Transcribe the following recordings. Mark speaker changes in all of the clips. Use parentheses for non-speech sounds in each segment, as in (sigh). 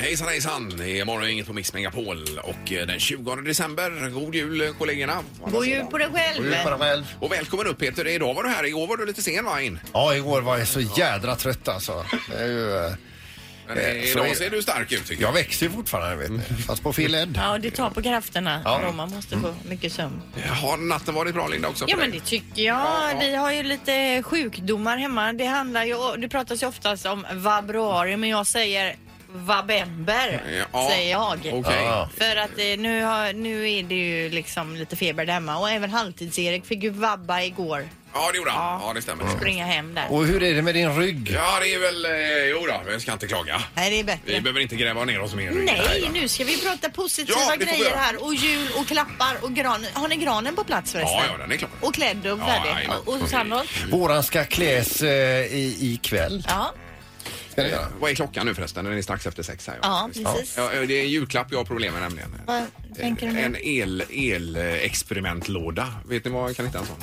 Speaker 1: hejsan hejsan! Det är morgon, inget på Mix Megapol och eh, den 20 december. God jul eh, kollegorna!
Speaker 2: God jul på dig själv!
Speaker 3: Gå ut på dig själv.
Speaker 1: Och välkommen upp Peter, idag var du här, igår var du lite sen va in?
Speaker 3: Ja, igår var jag så jädra trött alltså. Det är ju, eh,
Speaker 1: Men eh,
Speaker 3: Eh, så är
Speaker 1: idag
Speaker 3: det.
Speaker 1: ser du stark ut tycker jag.
Speaker 3: jag växer ju fortfarande vet ni. Fast på fel eld.
Speaker 2: Ja, det tar på krafterna
Speaker 3: Ja.
Speaker 2: då man måste få mycket sömn.
Speaker 1: Har natten varit bra Linda också?
Speaker 2: Ja
Speaker 1: Mm. för
Speaker 2: men det
Speaker 1: dig?
Speaker 2: tycker jag. Vi har ju lite sjukdomar hemma. Det handlar ju, det pratas ju oftast om vabruari men jag säger vabember,
Speaker 1: Ja.
Speaker 2: säger jag.
Speaker 1: Okej.
Speaker 3: Ja.
Speaker 2: För att eh, nu, har, nu är det ju liksom lite feber där hemma och även halvtids-Erik fick ju vabba igår.
Speaker 1: Ja det gjorde han.
Speaker 2: Ja.
Speaker 1: Ja det stämmer.
Speaker 2: Springa hem där.
Speaker 3: Och hur är det med din rygg?
Speaker 1: Ja det är väl, eh, jo då, vi ska inte klaga.
Speaker 2: Nej det är
Speaker 1: Vi
Speaker 2: bättre.
Speaker 1: behöver inte gräva ner oss mer. i det här,
Speaker 2: Nej,
Speaker 1: va?
Speaker 2: nu ska vi prata positiva
Speaker 1: Ja, det får vi
Speaker 2: grejer
Speaker 1: göra.
Speaker 2: här och jul och klappar och gran. Har ni granen på plats förresten?
Speaker 1: Ja, ja den är klar.
Speaker 2: Och klädd och
Speaker 1: Ja,
Speaker 2: färdig.
Speaker 1: jajamän.
Speaker 2: och och Sandholt?
Speaker 3: Våran ska kläs eh, i, ikväll.
Speaker 2: Ja,
Speaker 3: Ska ni göra?
Speaker 1: Vad är klockan nu förresten? Den är strax efter sex här. va?
Speaker 2: ja precis.
Speaker 1: Ja, eh, det är en julklapp jag har problem med nämligen.
Speaker 2: Vad tänker du nu?
Speaker 1: En el, el experimentlåda. Vet ni vad jag kan hitta en sån?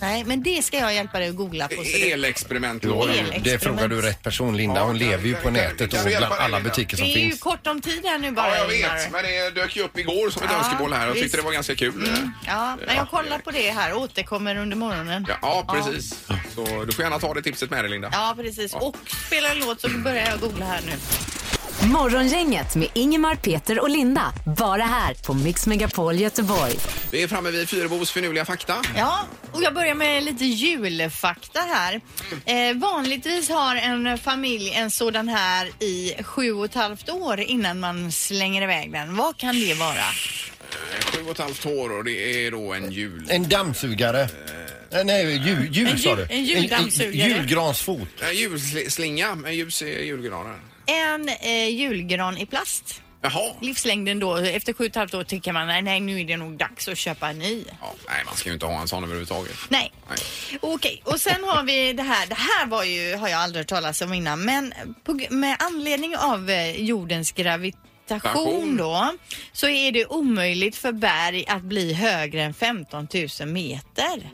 Speaker 2: Nej, men det ska jag hjälpa dig att googla på. så det-
Speaker 3: Jo,
Speaker 1: Elexperimentlåda.
Speaker 2: El. Elexperiment.
Speaker 3: Det frågar du rätt person Linda. Hon
Speaker 1: Ja,
Speaker 3: lever ju
Speaker 1: kan-
Speaker 3: på
Speaker 1: kan-
Speaker 3: nätet
Speaker 1: kan
Speaker 3: och
Speaker 1: du hjälpa
Speaker 3: bland
Speaker 1: mig,
Speaker 3: alla
Speaker 1: Linda?
Speaker 3: butiker som
Speaker 2: Det är ju
Speaker 3: finns.
Speaker 2: kort om tid här nu bara.
Speaker 1: Ja, jag
Speaker 2: Ingmar.
Speaker 1: vet. Men det dök ju upp igår som ett
Speaker 2: Ja,
Speaker 1: önskemål här. Jag
Speaker 2: visst. Mm,
Speaker 1: tyckte det var ganska kul.
Speaker 2: Ja, men jag kollar på det här och återkommer under morgonen.
Speaker 1: Ja, ja, precis. Så du får gärna ta det tipset med dig, Linda.
Speaker 2: Ja, precis. Och spela en låt så börjar jag googla här nu.
Speaker 4: Morgongänget med Ingemar, Peter och Linda. Bara här på Mix Megapol Göteborg.
Speaker 1: Vi är framme vid Fyrebos finurliga fakta.
Speaker 2: Ja, och jag börjar med lite julfakta här. Eh, vanligtvis har en familj en sådan här i sju och ett halvt år innan man slänger iväg den. Vad kan det vara?
Speaker 1: Sju och ett halvt år och det är då en jul...
Speaker 3: En dammsugare. Eh, Nej, jul, jul
Speaker 2: En
Speaker 3: sa
Speaker 2: jul-
Speaker 3: du.
Speaker 2: en juldammsugare.
Speaker 3: julgransfot.
Speaker 1: En julslinga med ljus i julgranen.
Speaker 2: En eh, julgran i plast.
Speaker 1: Jaha.
Speaker 2: Livslängden då, efter sju och ett halvt år tycker man nej, nej nu är det nog dags att köpa en ny.
Speaker 1: Ja, nej, man ska ju inte ha en sån överhuvudtaget.
Speaker 2: Nej.
Speaker 1: Nej.
Speaker 2: Okej, och sen har vi det här. Det här var ju, har jag aldrig hört talas om innan, men på, g- med anledning av eh, jordens gravitation
Speaker 1: Station.
Speaker 2: då så är det omöjligt för berg att bli högre än 15 000 meter.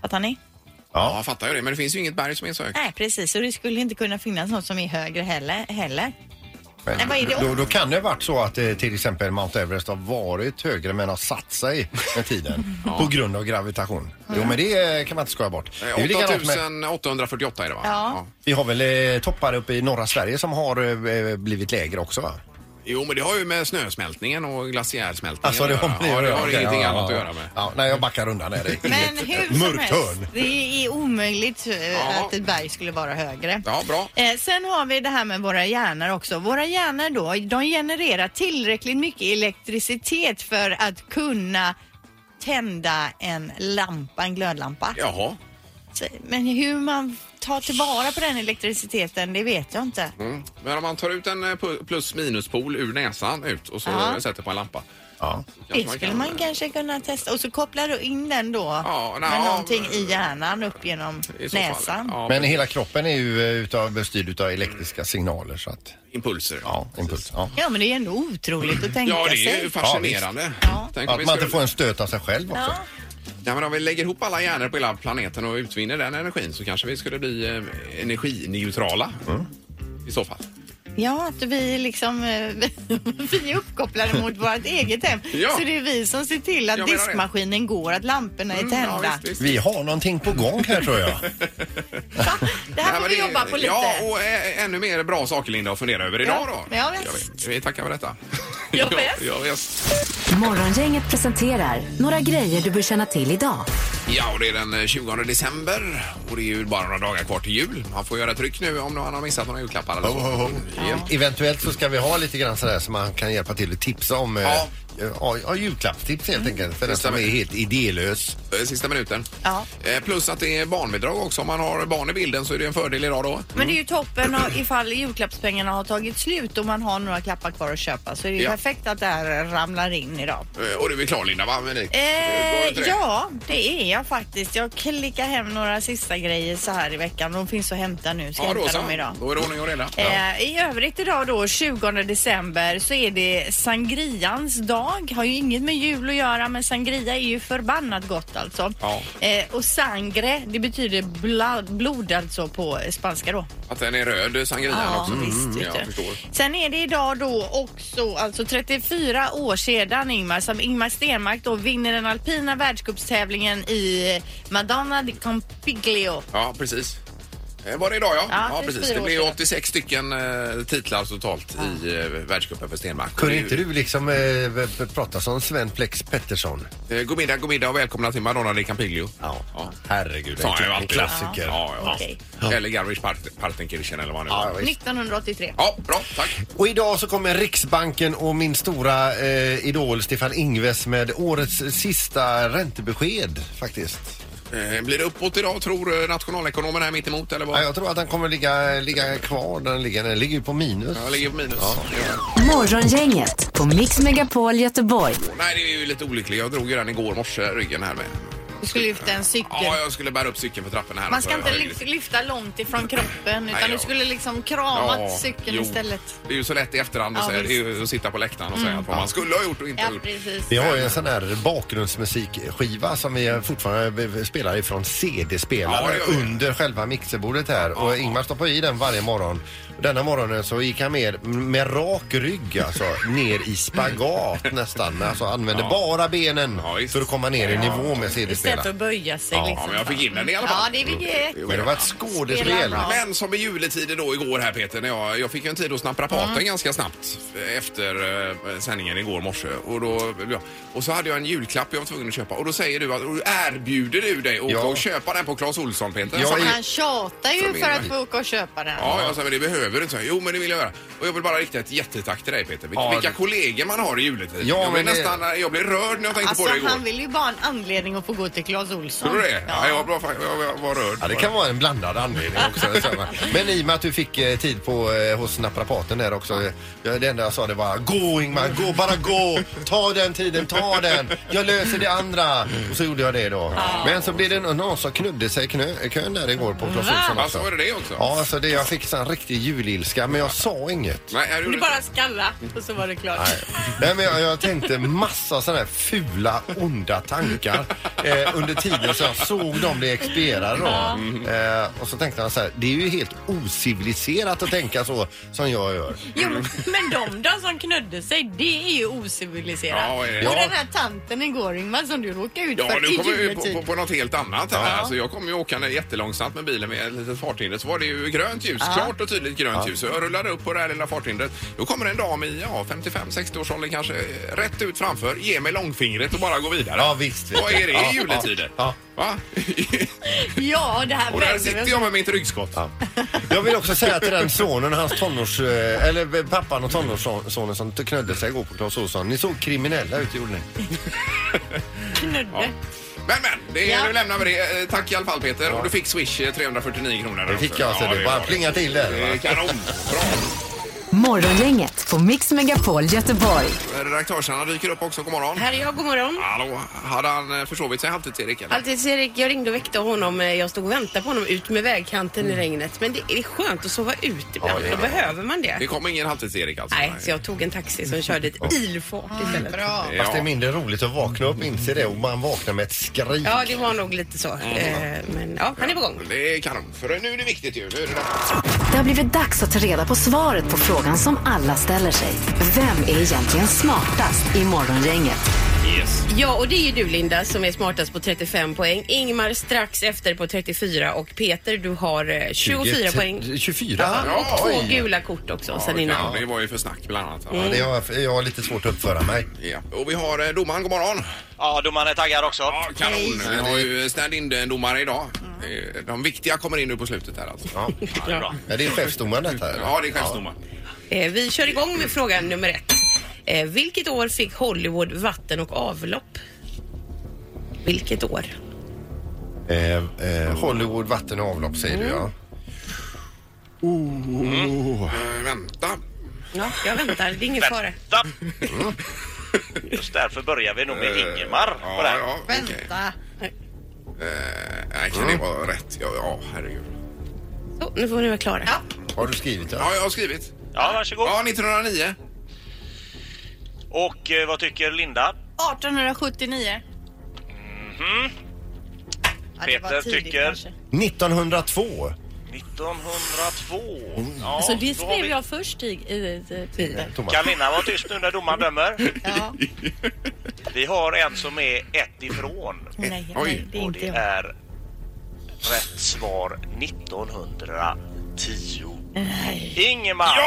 Speaker 2: Fattar ni?
Speaker 1: Ja, jag fattar ju det. Men det finns ju inget berg som är så högt.
Speaker 2: Nej, precis. Och det skulle inte kunna finnas något som är högre heller. heller.
Speaker 3: Men
Speaker 2: Nej, vad är det?
Speaker 3: Då, då kan det ha varit så att eh, till exempel Mount Everest har varit högre men har satt sig med tiden
Speaker 2: (laughs)
Speaker 3: på grund av gravitation. Jo men det eh, kan man inte skoja bort. Det är ju likadant med-
Speaker 1: 8848 är det va?
Speaker 2: Ja.
Speaker 3: Vi har väl eh, toppar uppe i norra Sverige som har eh, blivit lägre också va?
Speaker 1: Jo, men det har ju med snösmältningen och glaciärsmältningen
Speaker 3: Alltså det
Speaker 1: att
Speaker 3: har
Speaker 1: göra.
Speaker 3: med
Speaker 1: ja, det har
Speaker 3: okej,
Speaker 1: ingenting
Speaker 3: ja,
Speaker 1: annat
Speaker 3: ja,
Speaker 1: att göra med.
Speaker 3: Ja, nej jag backar undan. Nej, det är
Speaker 2: Men
Speaker 3: inget,
Speaker 2: hur
Speaker 3: eh,
Speaker 2: som
Speaker 3: mörkt
Speaker 2: helst,
Speaker 3: hörn.
Speaker 2: det är omöjligt eh,
Speaker 1: Ja.
Speaker 2: att ett berg skulle vara högre.
Speaker 1: Ja, bra.
Speaker 2: Eh, sen har vi det här med våra hjärnor också. Våra hjärnor då, de genererar tillräckligt mycket elektricitet för att kunna tända en lampa, en glödlampa.
Speaker 1: Jaha.
Speaker 2: Så- Men hur man tar tillvara på den elektriciteten, det vet jag inte.
Speaker 1: Mm. Men om man tar ut en eh, pu- plus minuspol ur näsan ut och så
Speaker 2: Ja.
Speaker 1: eh, sätter på en lampa.
Speaker 3: Ja.
Speaker 1: kanske eh,
Speaker 2: Det skulle man kanske kunna testa. Och så kopplar du in den då
Speaker 1: Ja,
Speaker 2: med
Speaker 1: nej,
Speaker 2: någonting
Speaker 1: ja,
Speaker 2: i hjärnan upp genom
Speaker 1: i så fall.
Speaker 2: näsan.
Speaker 1: Ja,
Speaker 3: Men hela kroppen är ju eh, utav, styrd utav elektriska signaler så att
Speaker 1: impulser.
Speaker 3: ja, impuls. Ja.
Speaker 2: Ja, men det är ändå otroligt att tänka
Speaker 1: Ja, det är
Speaker 2: sig.
Speaker 1: ju fascinerande.
Speaker 2: Ja.
Speaker 1: Tänk om vi
Speaker 3: Att man inte
Speaker 1: skulle-
Speaker 3: får en stöt av sig själv också.
Speaker 2: Ja.
Speaker 1: Nej, men om vi lägger ihop alla hjärnor på hela planeten och utvinner den energin så kanske vi skulle bli eh, energineutrala.
Speaker 3: Mm.
Speaker 1: I så fall.
Speaker 2: Ja, att vi liksom eh, (laughs) vi är uppkopplade mot vårt eget hem.
Speaker 1: Ja.
Speaker 2: Så det är vi som ser till att
Speaker 1: Jag menar det.
Speaker 2: diskmaskinen går, att lamporna är
Speaker 1: Mm, ja,
Speaker 2: tända.
Speaker 1: visst, visst.
Speaker 3: Vi har någonting på gång här tror jag.
Speaker 2: Va? det här
Speaker 1: Nej,
Speaker 2: får
Speaker 1: men
Speaker 2: vi
Speaker 1: det-
Speaker 2: jobba på lite.
Speaker 1: Ja, och ä- ännu mer bra saker Linda att fundera över idag
Speaker 2: Ja,
Speaker 1: då.
Speaker 2: ja, visst.
Speaker 1: vet. Vi tackar för detta.
Speaker 2: Ja, visst.
Speaker 1: (laughs) ja, visst.
Speaker 4: Morgongänget presenterar några grejer du bör känna till idag.
Speaker 1: ja, och det är den eh, 20 december och det är ju bara några dagar kvar till jul. Man får göra tryck nu om man har missat några julklappar eller så.
Speaker 3: Oh,
Speaker 1: Ja.
Speaker 3: Eventuellt så ska vi ha lite grann sådär som man kan hjälpa till att tipsa om. eh,
Speaker 1: Ja. Mm.
Speaker 3: Ja, ja, julklappstips helt enkelt för den som är
Speaker 1: stämmer.
Speaker 3: helt idélös.
Speaker 1: Eh, Sista minuten.
Speaker 2: Ja.
Speaker 1: Eh, Plus att det är barnbidrag också. Om man har barn i bilden så är det en fördel idag då.
Speaker 2: Men det är ju toppen och ifall julklappspengarna har tagit slut och man har några klappar kvar att köpa så är det ju
Speaker 1: Ja.
Speaker 2: perfekt att det här ramlar in idag.
Speaker 1: Eh, Och du är klar Linda va? Men det- var inte
Speaker 2: Eh,
Speaker 1: det?
Speaker 2: ja, det är jag faktiskt. Jag klickar hem några sista grejer så här i veckan. De finns att hämta nu. Ska
Speaker 1: Ja, då
Speaker 2: hämta
Speaker 1: så.
Speaker 2: dem idag.
Speaker 1: Då är det ordning och reda.
Speaker 2: Eh, I övrigt idag då, 20 december, så är det sangrians dag. idag. Har ju inget med jul att göra men sangria är ju förbannat gott alltså.
Speaker 1: Ja.
Speaker 2: Eh, och sangre, det betyder blod, blod alltså på spanska då.
Speaker 1: Att den är röd, sangrian också.
Speaker 2: visst, vet
Speaker 1: mm, jag
Speaker 2: du.
Speaker 1: förstår.
Speaker 2: Sen är det idag då också, alltså 34 år sedan Ingmar, som Ingmar Stenmark då vinner den alpina världscupstävlingen i Madonna di Campiglio.
Speaker 1: Ja, precis. Eh, Var det idag ja?
Speaker 2: Ja, det är
Speaker 1: precis.
Speaker 2: fyra
Speaker 1: Det
Speaker 2: år
Speaker 1: blev
Speaker 2: sedan.
Speaker 1: 86 stycken eh, titlar totalt i eh, världscupen för Stenmark.
Speaker 3: Kunde
Speaker 1: Det är
Speaker 3: inte
Speaker 1: ju-
Speaker 3: du liksom eh, v- v- prata som Sven Plex Pettersson?
Speaker 1: Eh, God middag, god middag och välkomna till Madonna di Campiglio. Ja.
Speaker 3: Herregud,
Speaker 1: Sa han ju
Speaker 3: vilken
Speaker 1: alltid.
Speaker 3: klassiker.
Speaker 1: Ja, ja.
Speaker 2: Okej.
Speaker 1: Ja. Eller Garmisch Part- Partenkirchen eller vad det nu
Speaker 3: Ja,
Speaker 1: var.
Speaker 3: visst.
Speaker 2: 1983.
Speaker 1: Ja, bra. Tack.
Speaker 3: Och idag så kommer Riksbanken och min stora eh, idol Stefan Ingves med årets sista räntebesked faktiskt.
Speaker 1: Eh, Blir det uppåt idag tror eh, nationalekonomen här mittemot eller
Speaker 3: Ja,
Speaker 1: vad?
Speaker 3: jag tror att han kommer ligga, ligga kvar där han ligger. Den ligger ju på minus.
Speaker 1: Jag ligger på minus.
Speaker 4: Morgongänget på Mix Megapol Göteborg.
Speaker 1: Nej, det är ju lite olyckligt. Jag drog ju den igår morse, ryggen här med.
Speaker 2: Du skulle lyfta en cykel.
Speaker 1: Ja, jag skulle bära upp cykeln för trappan här.
Speaker 2: Man ska
Speaker 1: Så
Speaker 2: inte
Speaker 1: jag-
Speaker 2: lyf- lyfta långt ifrån kroppen
Speaker 1: Nej,
Speaker 2: utan
Speaker 1: ja.
Speaker 2: du skulle liksom kramat
Speaker 1: Ja,
Speaker 2: cykeln
Speaker 1: jo.
Speaker 2: istället.
Speaker 1: Det är ju så lätt i efterhand att
Speaker 2: Ja, Mm.
Speaker 1: säga. Det är ju att sitta på läktaren och säga att vad man skulle ha gjort och inte
Speaker 2: Ja,
Speaker 1: gjort.
Speaker 2: precis.
Speaker 3: Vi har ju en sån här bakgrundsmusikskiva som vi fortfarande b- b- spelar ifrån
Speaker 1: Ja,
Speaker 3: CD-spelare
Speaker 1: det gör vi.
Speaker 3: under själva mixerbordet här. Och Ingmar stoppar i den varje morgon. Denna morgonen så gick han med, med rak rygg alltså, ner i spagat nästan. Men Alltså använde bara benen
Speaker 1: Ja, visst.
Speaker 3: för att komma ner i nivå med
Speaker 2: Istället för
Speaker 3: CD-spelaren.
Speaker 2: att böja sig
Speaker 3: Ja,
Speaker 1: Ja,
Speaker 2: liksom.
Speaker 1: men jag fick in den i alla
Speaker 2: Ja,
Speaker 1: fall.
Speaker 2: det är
Speaker 1: Jo,
Speaker 2: det.
Speaker 3: Men det var ett
Speaker 2: Spelar
Speaker 3: skådespel.
Speaker 2: bra.
Speaker 1: Men som i juletider då igår här Peter, när jag, jag fick ju en tid hos naprapaten
Speaker 2: Mm.
Speaker 1: ganska snabbt efter eh, sändningen igår morse. Och, då, ja, och så hade jag en julklapp jag var tvungen att köpa och då säger du att och erbjuder du dig att
Speaker 3: Ja.
Speaker 1: åka och köpa den på Clas Ohlson Peter?
Speaker 3: Ja,
Speaker 1: Så-
Speaker 3: i-
Speaker 2: Han tjatar ju
Speaker 1: Som
Speaker 2: för att
Speaker 1: Ingmar.
Speaker 2: få åka och köpa den.
Speaker 1: Ja, jag sa, men det behöver du inte. Så, Jo, men det vill jag göra. Och jag vill bara rikta ett jättetack till dig Peter. Vilka,
Speaker 3: Ja,
Speaker 1: vilka
Speaker 3: det-
Speaker 1: kollegor man har i juletid.
Speaker 3: Ja,
Speaker 1: jag, blir
Speaker 3: men det-
Speaker 1: nästan, jag blir rörd när jag tänker
Speaker 2: Alltså
Speaker 1: på det igår.
Speaker 2: han vill ju bara ha en anledning att få gå till Clas Ohlson.
Speaker 1: Tror du det? Ja. jag, var, fan- jag, jag var rörd.
Speaker 3: Ja, det kan vara en blandad anledning också. detsamma. Men i och med att du fick eh, tid på, eh, hos naprapaten där också. eh, ja, Det enda jag sa det var gå Ingmar, gå, bara gå. Ta den tiden, ta den. Jag löser det andra. Och så gjorde jag det då. Men så blev det nå- någon som knudde sig i knö- kön där igår på Clas Ohlson
Speaker 1: Alltså, var
Speaker 3: också.
Speaker 1: det det också?
Speaker 3: Ja, så det, jag fick sån riktig julilska men jag sa inget.
Speaker 1: Nej, jag gjorde
Speaker 2: Du
Speaker 1: inte.
Speaker 2: bara skalla och så var det klart.
Speaker 3: Nej, men jag, jag tänkte massa sådana här fula, onda tankar eh, under tiden så jag såg dem bli expedierade då. Eh, och så tänkte jag så här, det är ju helt ociviliserat att tänka så som jag gör.
Speaker 2: Jo, men de då som knödde sig, det är ju ociviliserat.
Speaker 1: Ja, vad är det?
Speaker 2: Och
Speaker 1: Ja.
Speaker 2: den här tanten igår Ingmar som du råkade ut
Speaker 1: Ja,
Speaker 2: för
Speaker 1: nu
Speaker 2: i
Speaker 1: kommer vi på,
Speaker 2: juletid.
Speaker 1: på, på något helt annat här. Alltså, jag kom ju åkande jättelångsamt med bilen med ett litet farthinder. Så var det ju grönt ljus, klart och tydligt grönt ljus. Så jag rullade upp på det här lilla farthindret. Då kommer en dam i ja, 55-60 års ålder kanske eh, rätt ut framför, ger mig långfingret och bara går vidare.
Speaker 3: Ja, visst, visst.
Speaker 1: Vad är det i
Speaker 3: Ja,
Speaker 1: juletider?
Speaker 3: ja,
Speaker 1: Va? (laughs)
Speaker 2: Ja, det här
Speaker 1: och där
Speaker 2: vänder vi
Speaker 1: sitter
Speaker 2: oss
Speaker 1: jag med mitt ryggskott.
Speaker 3: Ja. Jag vill också säga till den sonen och hans tonårs... eh, Eller pappan och tonårssonen som knödde sig igår på Clas Ohlson. Ni såg kriminella ut gjorde ni.
Speaker 2: knödde.
Speaker 1: Men, men, det,
Speaker 2: Ja.
Speaker 1: nu lämnar vi det. Eh, Tack i alla fall, Peter. Och du fick Swish eh, 349 kronor.
Speaker 3: Det fick jag, så det bara plinga till där.
Speaker 1: Det är
Speaker 3: va?
Speaker 1: Kanon! Bra!
Speaker 4: Morgongänget på Mix Megapol Göteborg.
Speaker 1: Redaktörsarna dyker upp också. God morgon.
Speaker 5: Här är jag, god morgon.
Speaker 1: Hallå, hade han eh, försovit sig halvtids-Erik? eller?
Speaker 5: Alltid Erik, Alltså, jag ringde och väckte honom. Eh, Jag stod och väntade på honom ut med vägkanten i regnet. Men det är skönt att sova ut ibland. Då behöver man
Speaker 1: Mm. Det Mm.
Speaker 5: det.
Speaker 1: kom ingen halvtids-Erik alltså?
Speaker 5: Nej, så jag tog en taxi som körde ett ilfart
Speaker 1: Mm.
Speaker 5: istället.
Speaker 2: Bra.
Speaker 1: Ja.
Speaker 3: Fast det är mindre roligt att vakna upp, inse det och man vaknar med ett skrik.
Speaker 5: Ja, det var nog lite så. Eh, Men ja, han är på gång.
Speaker 1: Det är kanon, för nu är det viktigt ju. Nu är det
Speaker 4: Det har blivit dags att ta reda på svaret på frågan som alla ställer sig. Vem är egentligen smartast i Morgongänget?
Speaker 1: yes.
Speaker 5: Ja, och det är ju du Linda som är smartast på 35 poäng. Ingmar strax efter på 34 och Peter du har eh, 24 poäng.
Speaker 3: 24?
Speaker 5: Ja, och två
Speaker 3: Oj.
Speaker 5: gula kort också
Speaker 1: Ja,
Speaker 5: sen
Speaker 1: det,
Speaker 5: innan.
Speaker 1: kan, det var ju för snack bland annat.
Speaker 3: Ja, det har, jag- jag har lite svårt att uppföra mig.
Speaker 1: Ja. Och vi har eh, domaren, god morgon.
Speaker 6: Ja, domaren är taggad också.
Speaker 1: Ja, kanon. Vi har ju stand-in-domare idag. Eh, De viktiga kommer in nu på slutet här alltså. Ja,
Speaker 5: Ja.
Speaker 3: Mm. Ja, det är chefsdomaren detta. eller?
Speaker 1: det är chefsdomaren.
Speaker 5: Eh, Vi kör igång med fråga nummer ett. Eh, Vilket år fick Hollywood vatten och avlopp? Vilket år?
Speaker 3: Eh, eh, Hollywood, vatten och avlopp säger du ja.
Speaker 1: Eh, vänta.
Speaker 5: Ja, jag väntar. Det är ingen fara.
Speaker 6: Vänta! Mm. Just därför börjar vi nog med Ingemar på den.
Speaker 1: Eh, ja, okej.
Speaker 2: Vänta.
Speaker 1: Eh, nej, kan
Speaker 3: Mm.
Speaker 1: det vara rätt? Ja, ja, herregud.
Speaker 5: Så, Oh, nu får ni vara klara.
Speaker 3: Har du skrivit det?
Speaker 1: Ja, jag har skrivit.
Speaker 6: Ja, varsågod.
Speaker 1: Ja, 1909.
Speaker 6: Och eh, vad tycker Linda?
Speaker 2: 1879. Ja, det var
Speaker 6: Peter
Speaker 2: tidigt
Speaker 6: tycker-
Speaker 2: kanske.
Speaker 3: 1902.
Speaker 6: 1902. Ja,
Speaker 2: Alltså,
Speaker 7: Så det
Speaker 6: då har
Speaker 7: skrev
Speaker 6: vi-
Speaker 7: jag först i, i, i Peter.
Speaker 3: Thomas.
Speaker 6: Kan Linda vara tyst nu när domaren dömer?
Speaker 2: Ja.
Speaker 6: Vi har en som är ett ifrån.
Speaker 2: Nej,
Speaker 1: Oj.
Speaker 2: nej, det är
Speaker 6: Och
Speaker 2: inte
Speaker 6: det
Speaker 2: jag.
Speaker 6: är rätt svar 1910. Ingemar!
Speaker 5: Ingemar
Speaker 1: Oj,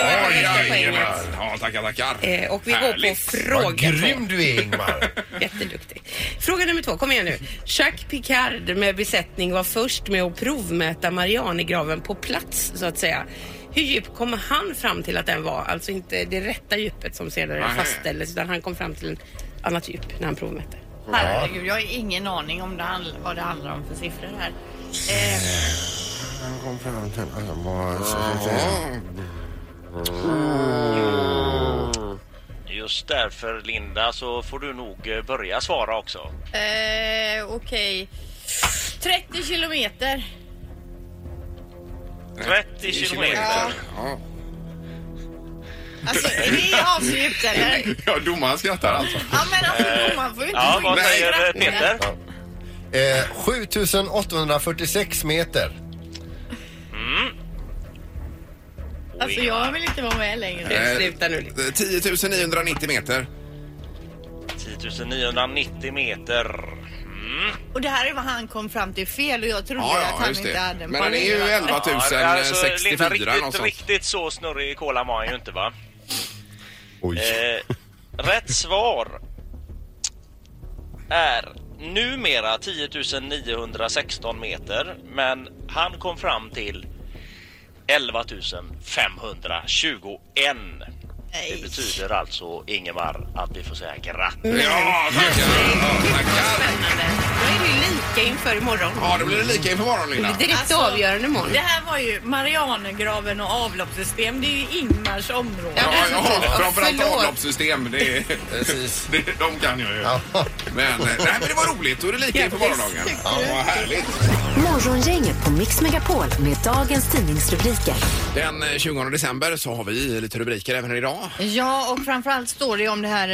Speaker 5: efter
Speaker 1: ja,
Speaker 5: poängen.
Speaker 1: Ingemar. Ja, tackar, tackar.
Speaker 5: Eh, och vi
Speaker 1: Härligt.
Speaker 5: går på
Speaker 3: Vad
Speaker 5: fråga två.
Speaker 3: grym du är Ingmar.
Speaker 5: Jätteduktig. Fråga nummer två, kom igen nu. Jacques Picard med besättning var först med att provmäta Marianergraven på plats så att säga. Hur djup kom han fram till att den var? Alltså inte det rätta djupet som senare
Speaker 1: Nej.
Speaker 5: fastställdes utan han kom fram till ett annat djup när han provmätte.
Speaker 2: Herregud, jag har ingen aning om det handl- vad det handlar om för siffror här. Eh,
Speaker 6: Just därför Linda så får du nog eh, börja svara också.
Speaker 2: eh, Okej. 30 kilometer.
Speaker 6: 30 kilometer.
Speaker 1: Ja.
Speaker 2: Alltså, är det avslut eller?
Speaker 1: Ja, domaren skrattar alltså.
Speaker 2: Ja, men alltså domaren får ju inte
Speaker 6: Ja,
Speaker 2: gå in
Speaker 6: vad
Speaker 2: och
Speaker 6: säger eh,
Speaker 2: skratta.
Speaker 6: Peter?
Speaker 3: Eh, 7846 meter.
Speaker 2: Alltså, jag vill inte vara med längre.
Speaker 5: (laughs) Eh,
Speaker 1: Eh,
Speaker 5: Sluta nu lite.
Speaker 1: 10 990 meter.
Speaker 6: 10 990 meter.
Speaker 2: Och det här är vad han kom fram till fel och jag trodde
Speaker 1: Ja,
Speaker 2: att
Speaker 1: ja,
Speaker 2: han
Speaker 1: just
Speaker 2: inte
Speaker 1: det.
Speaker 2: hade en
Speaker 1: Men den är
Speaker 2: poäng.
Speaker 1: ju 11
Speaker 6: alltså, Linda,
Speaker 1: 064
Speaker 6: riktigt,
Speaker 1: någonstans.
Speaker 6: riktigt så snurrig i kolan var han ju inte va?
Speaker 3: Oj.
Speaker 6: Eh, rätt svar är numera 10 916 meter, men han kom fram till 11 521.
Speaker 2: Nej.
Speaker 6: Det betyder alltså, Ingemar, att vi får säga grattis.
Speaker 1: Ja, tackar! Ja, tackar.
Speaker 5: Spännande. Då är det ju lika inför imorgon.
Speaker 1: Ja, då blir det lika inför morgon,
Speaker 5: Det
Speaker 1: Linda.
Speaker 5: är direkt
Speaker 2: Alltså,
Speaker 5: avgörande imorgon.
Speaker 2: Det här var ju Marianergraven och avloppssystem. Det är ju Ingmars område.
Speaker 1: Ja, ja,
Speaker 5: Ja,
Speaker 1: framförallt
Speaker 5: förlåt.
Speaker 1: avloppssystem. Det är,
Speaker 3: Precis.
Speaker 1: (laughs) det, de kan jag ju.
Speaker 3: Ja.
Speaker 1: Men, eh, nej, men det var roligt. Då är det lika inför morgondagen. Ja, vad härligt.
Speaker 4: Morgongänget på Mix Megapol med dagens tidningsrubriker.
Speaker 1: Den eh, 20 december så har vi lite rubriker även idag.
Speaker 2: Ja, och framförallt står det om det här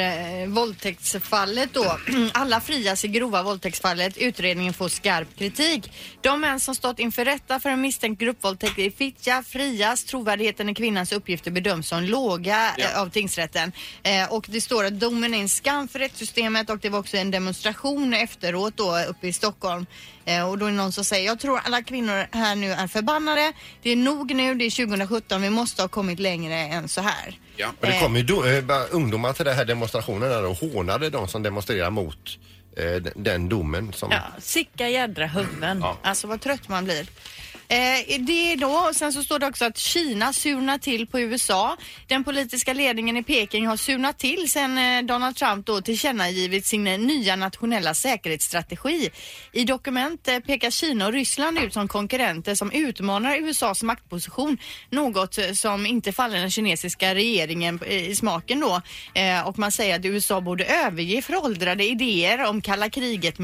Speaker 2: eh, våldtäktsfallet då. (clears throat) Alla frias i grova våldtäktsfallet. Utredningen får skarp kritik. De män som stått inför rätta för en misstänkt gruppvåldtäkt i Fittja frias. Trovärdigheten i kvinnans uppgifter bedöms som låga eh, av tingsrätten. Eh, och det står att domen är en skam för rättssystemet och det var också en demonstration efteråt då uppe i Stockholm. Eh, och då är det någon som säger, jag tror alla kvinnor här nu är förbannade. Det är nog nu, det är 2017, vi måste ha kommit längre än så här.
Speaker 1: Ja.
Speaker 3: Och det kom ju do, eh, bara ungdomar till den här demonstrationen där och hånade de som demonstrerar mot eh, d- den domen. Som,
Speaker 7: Ja, sicka jädra huvuden.
Speaker 2: Alltså vad trött man blir. Eh, det är då, och sen så står det också att Kina surnar till på USA. Den politiska ledningen i Peking har surnat till sen eh, Donald Trump då tillkännagivit sin eh, nya nationella säkerhetsstrategi. I dokument eh, pekar Kina och Ryssland ut som konkurrenter som utmanar USAs maktposition. Något eh, som inte faller den kinesiska regeringen eh, i smaken då. Eh, och man säger att USA borde överge föråldrade idéer om kalla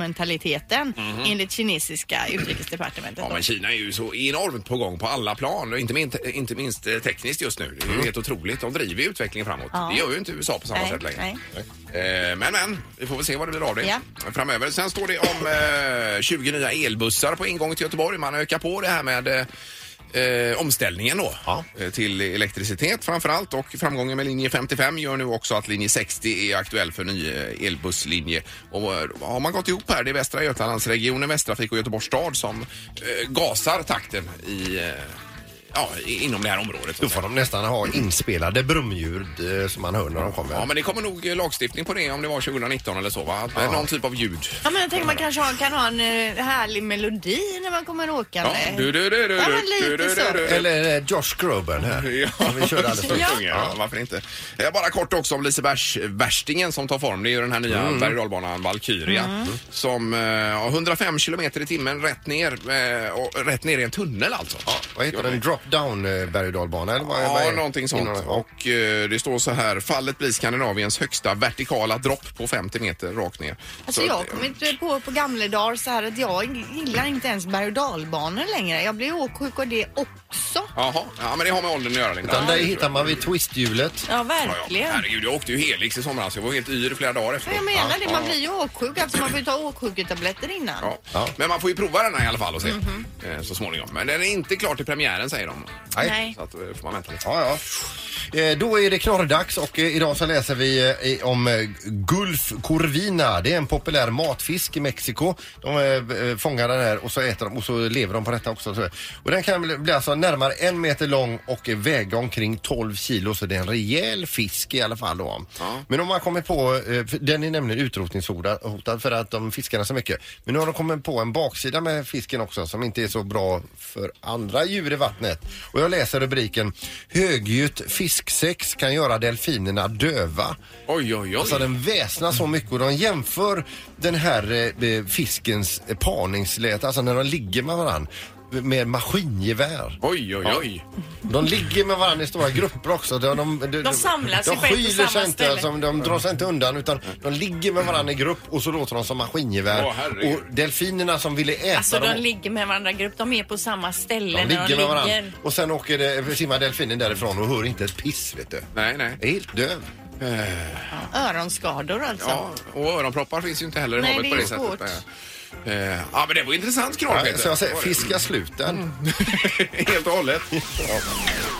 Speaker 2: kriget-mentaliteten enligt kinesiska utrikesdepartementet.
Speaker 1: Mhm. Ja, men Kina är ju så enormt på gång på alla plan, och inte minst, inte minst eh, tekniskt just nu. Det är ju helt otroligt. De driver ju utvecklingen framåt.
Speaker 2: Mm. Ja.
Speaker 1: Det gör ju inte USA på samma
Speaker 2: Nej,
Speaker 1: sätt längre. Eh, Men men, vi får väl se vad det blir av det
Speaker 2: Ja.
Speaker 1: framöver. Sen står det om eh, 20 nya elbussar på ingång till Göteborg. Man ökar på det här med eh, eh, omställningen då
Speaker 3: Ja.
Speaker 1: eh, till elektricitet framför allt och framgången med linje 55 gör nu också att linje 60 är aktuell för ny eh, elbusslinje. Och eh, har man gått ihop här, det är Västra Götalandsregionen, Västtrafik och Göteborgs stad som eh, gasar takten i, eh, ja, i- inom det här området. så
Speaker 3: Då
Speaker 1: att
Speaker 3: får
Speaker 1: säga.
Speaker 3: de nästan ha inspelade brumljud eh, som man hör när de kommer.
Speaker 1: Ja, men det kommer nog eh, lagstiftning på det om det var 2019 eller så va? Att, eh, Någon typ av ljud
Speaker 2: Ja, men jag tänker man kanske har, kan ha en eh, härlig melodi när man kommer åkande.
Speaker 1: Ja, du, du, du, du,
Speaker 2: Ja, men
Speaker 1: du,
Speaker 2: lite
Speaker 1: du,
Speaker 2: så.
Speaker 1: du, du.
Speaker 3: Eller eh, Josh Groban här.
Speaker 1: (laughs) Ja,
Speaker 3: Som vi körde alldeles
Speaker 1: så
Speaker 3: nyss.
Speaker 1: sjunger jag. Ja, varför inte? Eh, Bara kort också om Lisebergsvärstingen som tar form. Det är ju den här nya
Speaker 3: Mm.
Speaker 1: berg och dalbanan Valkyria
Speaker 2: Mm.
Speaker 1: som eh, har 105 kilometer i timmen rätt ner, eh, och rätt ner i en tunnel alltså. Ja,
Speaker 3: Vad heter den? Drop down eh, berg och dalbana? Eller vad, vad
Speaker 1: Ja,
Speaker 3: är-
Speaker 1: någonting
Speaker 3: Innan-
Speaker 1: sånt.
Speaker 3: ja.
Speaker 1: Och eh, det står så här, fallet blir Skandinaviens högsta vertikala dropp på 50 meter rakt ner.
Speaker 2: Alltså
Speaker 1: Så
Speaker 2: jag
Speaker 1: att-
Speaker 2: kommer inte på på gamla dagar så här att jag gillar inte ens berg och dalbanor längre. Jag blir åksjuk av det och också.
Speaker 1: Jaha, ja, men det har med åldern att göra. Linda.
Speaker 3: Utan
Speaker 1: Ja,
Speaker 3: där
Speaker 1: det
Speaker 3: hittar
Speaker 1: tror
Speaker 3: man vid twisthjulet.
Speaker 7: Ja,
Speaker 1: jag. Ja, ja.
Speaker 7: verkligen.
Speaker 1: Herregud, jag åkte ju Helix i somras. Jag var helt yr i flera dagar efteråt.
Speaker 2: Jag menar det,
Speaker 1: Ja,
Speaker 2: man
Speaker 1: ja.
Speaker 2: blir ju åksjuk. Alltså man får ju ta åksjuketabletter innan.
Speaker 1: Ja.
Speaker 3: Ja.
Speaker 1: Men man får ju prova den här i alla fall och se eh, så småningom. Men den är inte klar till premiären säger de.
Speaker 2: Nej.
Speaker 1: Så att, eh, får man vänta lite.
Speaker 3: Ja, ja. Eh, Då är det knorrdags och eh, idag så läser vi eh, i- om eh, Gulf Corvina. Det är en populär matfisk i Mexiko. De eh, eh, fångar den här och så äter de och så lever de på detta också. Så- Och den kan bli- bli alltså närmare en meter lång och väga omkring 12 kilo så det är en rejäl fisk i alla fall då. Men om man kommer på, eh, för den är nämligen utrotningshotad för att de fiskar så mycket. Men nu har de kommit på en baksida med fisken också som inte är så bra för andra djur i vattnet. Och jag läser rubriken Högljutt fisksex kan göra delfinerna döva.
Speaker 1: Oj, oj, oj.
Speaker 3: Alltså den väsnar så mycket och de jämför den här eh, eh, fiskens eh, parningsläte, alltså när de ligger med varandra med maskingevär.
Speaker 1: Oj, oj, oj.
Speaker 3: De ligger med varandra i stora grupper också. De, de, de,
Speaker 7: De samlas
Speaker 3: de
Speaker 7: ju på ett och
Speaker 3: skyler
Speaker 7: samma
Speaker 3: sig inte,
Speaker 7: ställe.
Speaker 3: alltså, de drar sig inte undan utan de ligger med varandra i grupp och så låter de som maskingevär.
Speaker 1: Åh, herregud.
Speaker 3: och delfinerna som ville äta
Speaker 7: Alltså de
Speaker 3: dem
Speaker 7: ligger med varandra i grupp. De är på samma ställe
Speaker 3: de
Speaker 7: när de
Speaker 3: ligger med varandra.
Speaker 7: ligger.
Speaker 3: Och sen åker det, simmar delfinen därifrån och hör inte ett piss vet du.
Speaker 1: Nej, nej.
Speaker 3: Jag är helt döv.
Speaker 2: Öronskador alltså.
Speaker 1: Ja, och öronproppar finns ju inte heller i
Speaker 2: Nej,
Speaker 1: havet
Speaker 2: det är
Speaker 1: på det
Speaker 2: svårt.
Speaker 1: sättet. Eh, Ja, men det var intressant knorr, Peter.
Speaker 3: Så jag säger,
Speaker 1: Var det?
Speaker 3: fiska sluten.
Speaker 1: (laughs) Helt och hållet.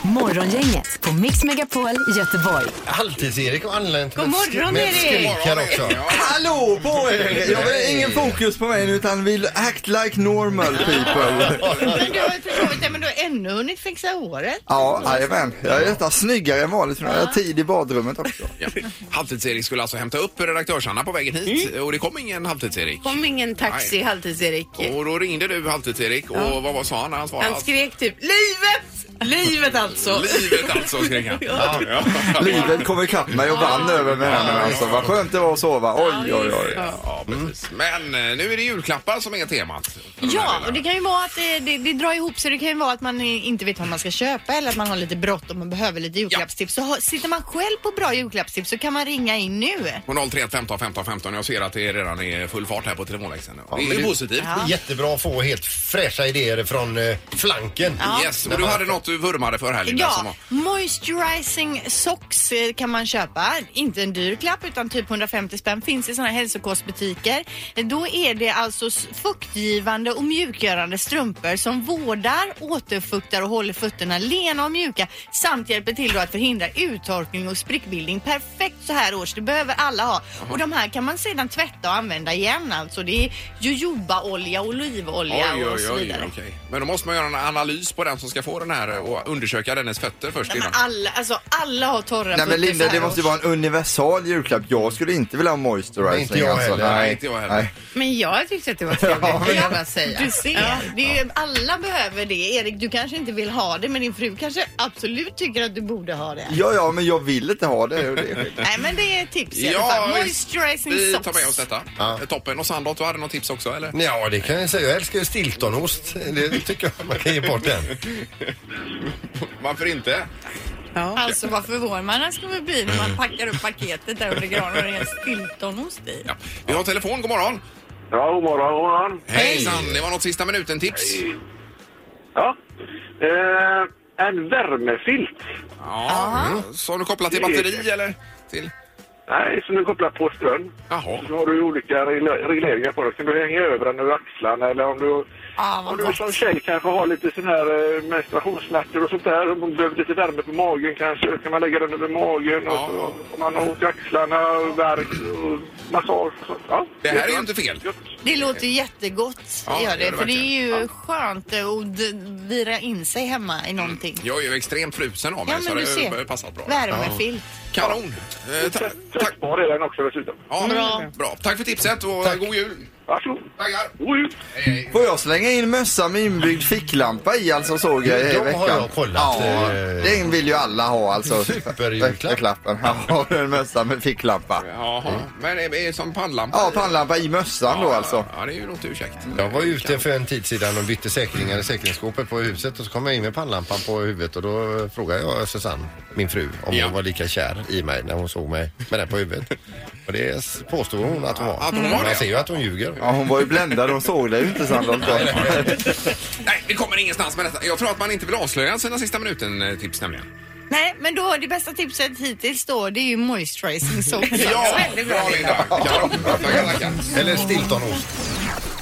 Speaker 4: Morgongänget på Mix Megapol Göteborg.
Speaker 3: Halvtids-Erik har anlänt
Speaker 2: God
Speaker 3: med
Speaker 2: morgon,
Speaker 3: sk- med
Speaker 2: Erik.
Speaker 3: skrikar också.
Speaker 1: Ja.
Speaker 8: Hallå på er! Jag vill ingen fokus på mig utan vill act like normal people.
Speaker 2: Men du har ju försovit dig, men du har ännu hunnit fixa håret.
Speaker 8: (laughs) Ja, jajamän. Jag är detta snyggare än vanligt för nu har jag tid i badrummet också.
Speaker 1: Ja. Halvtids-Erik skulle alltså hämta upp redaktörs-Anna på vägen hit och det kom ingen halvtids-Erik.
Speaker 5: Kom ingen taxi,
Speaker 1: Nej.
Speaker 5: halvtids-Erik.
Speaker 1: Och då ringde du halvtids-Erik och vad var, sa han när han svarade?
Speaker 5: Han skrek typ livet! Livet alltså!
Speaker 1: Livet alltså, skrek han. Ja.
Speaker 8: Livet kom ikapp mig och vann över mig här nu alltså. Vad skönt det var att sova. Oj, oj, oj.
Speaker 1: Ja, precis. Men eh, nu är det julklappar som är temat. för de här
Speaker 2: Ja,
Speaker 1: delarna.
Speaker 2: och det kan ju vara att det, det, det drar ihop sig. Det kan ju vara att man eh, inte vet vad man ska köpa eller att man har lite bråttom och behöver lite julklappstips. Så har, sitter man själv på bra julklappstips så kan man ringa in nu.
Speaker 1: På 031 15 15 15. Jag ser att det redan är full fart här på telefonväxeln. det är ju
Speaker 3: du-
Speaker 1: positivt.
Speaker 2: Ja.
Speaker 3: Jättebra att få helt fräscha idéer från eh, flanken.
Speaker 1: Yes, och du hade något du vurmade för här Linda,
Speaker 8: alltså,
Speaker 1: som
Speaker 2: Ja,
Speaker 1: var-
Speaker 2: moisturizing socks eh, kan man köpa. Inte en dyr klapp utan typ 150 spänn. Finns i såna här hälsokostbutiker. Eh, Då är det alltså s- fuktgivande och mjukgörande strumpor som vårdar, återfuktar och håller fötterna lena och mjuka samt hjälper till då att förhindra uttorkning och sprickbildning. Perfekt så här års, det behöver alla ha. Och de här kan man sedan tvätta och använda igen alltså. Det är jojobaolja, olivolja och så vidare.
Speaker 1: okej. Men då måste man göra en analys på den som ska få den här och undersöka dennes fötter först
Speaker 2: Nej, men
Speaker 1: innan.
Speaker 2: alla, alltså, alla har torra
Speaker 8: Nej men
Speaker 2: fötter Alltså, så
Speaker 8: Linda,
Speaker 2: här
Speaker 8: det måste ju
Speaker 2: års.
Speaker 8: vara en universal julklapp. Jag skulle inte vilja ha moisturizing.
Speaker 3: Nej, inte jag heller.
Speaker 1: alltså. Nej, inte jag heller.
Speaker 5: Men jag tyckte att det
Speaker 2: (laughs)
Speaker 5: var trevligt,
Speaker 8: Ja,
Speaker 5: det vill jag bara säga.
Speaker 2: Du ser, det är ju, alla behöver det. Erik, du kanske inte vill ha det, men din fru kanske absolut tycker att du borde ha det.
Speaker 8: Ja, ja, men jag vill inte ha det. och det är skit.
Speaker 2: Nej, men det är ett tips i alla fall.
Speaker 1: visst.
Speaker 2: Moisturizing
Speaker 1: vi
Speaker 2: socks.
Speaker 1: tar med oss detta.
Speaker 3: Ja.
Speaker 1: Eh, Toppen. Och Sandholt, du hade något tips också eller?
Speaker 3: Ja, det kan jag säga. Jag älskar ju stiltonost. Det tycker jag man kan ge bort den.
Speaker 1: Varför inte?
Speaker 2: Alltså vad förvånad man skulle bli när man packar upp paketet där under granen och det är en stiltonost i.
Speaker 1: Ja. Vi har telefon, god morgon.
Speaker 9: Ja, god morgon, god morgon.
Speaker 1: Hejsan, det var något sista minuten-tips.
Speaker 9: Ja. Eh, en värmefilt.
Speaker 1: Ja. mm. Så har du kopplat till batteri eller? Till?
Speaker 9: Nej, som du kopplar på ström.
Speaker 1: Jaha.
Speaker 9: Så har du olika regle- regleringar på den. Kan du hänga över den över axlarna eller om du...
Speaker 2: Ah, vad
Speaker 9: om du
Speaker 2: gott.
Speaker 9: som tjej kanske har lite sån här eh, menstruationssmärtor och sånt där. Om man behöver lite värme på magen kanske. Då kan man lägga den över magen
Speaker 1: Ja.
Speaker 9: och så om man har ont i axlarna och värk och massage och sånt. Ja.
Speaker 1: Det här är ju inte fel.
Speaker 9: Gött.
Speaker 2: Det låter jättegott,
Speaker 1: Ja,
Speaker 2: det gör
Speaker 1: det gör
Speaker 2: det.
Speaker 1: det
Speaker 2: För det är
Speaker 1: verkligen.
Speaker 2: ju skönt eh, att d- vira in sig hemma i någonting.
Speaker 1: Jag är ju extremt frusen av mig
Speaker 2: Ja,
Speaker 1: så
Speaker 2: men du
Speaker 1: det har ju
Speaker 2: ser.
Speaker 1: passat bra.
Speaker 2: Värmefilt.
Speaker 1: Kanon! Eh, ta- tack.
Speaker 9: Tvättbar är den också dessutom.
Speaker 1: Ja,
Speaker 2: Bra.
Speaker 1: bra. Tack för tipset och god jul!
Speaker 9: Varsågod.
Speaker 1: Tackar!
Speaker 9: God jul.
Speaker 8: Får jag slänga in mössa med inbyggd ficklampa i alltså såg jag i
Speaker 3: De har
Speaker 8: veckan?
Speaker 3: jag kollat.
Speaker 8: Ja,
Speaker 3: Eh,
Speaker 8: den vill ju alla ha alltså.
Speaker 3: Superjulklapp.
Speaker 8: Vecklappen. Ja, en mössa med ficklampa.
Speaker 1: Jaha, men det är som pannlampa?
Speaker 8: Ja, pannlampa i mössan då alltså.
Speaker 1: Ja, det är ju något ursäkt.
Speaker 3: Jag var ute för en tid sedan och bytte säkringar i säkringsskåpet på huset och så kom jag in med pannlampan på huvudet och då frågade jag Susanne, min fru, om
Speaker 1: Ja.
Speaker 3: hon var lika kär i mig när hon såg mig med den på huvudet. Och det påstod hon att hon var.
Speaker 1: Att hon var
Speaker 3: Man
Speaker 1: det, ja.
Speaker 3: ser ju att hon ljuger.
Speaker 8: Ja, hon var ju bländad, hon såg det ju inte sannolikt.
Speaker 1: Nej, vi kommer ingenstans med detta. Jag tror att man inte vill avslöja sina sista minuten-tips nämligen.
Speaker 2: Nej, men då det bästa tipset hittills då det är ju moisturizing
Speaker 1: (laughs)
Speaker 2: soap.
Speaker 1: väldigt bra Linda. Kanon. Tackar, tackar.
Speaker 3: Eller stiltonost.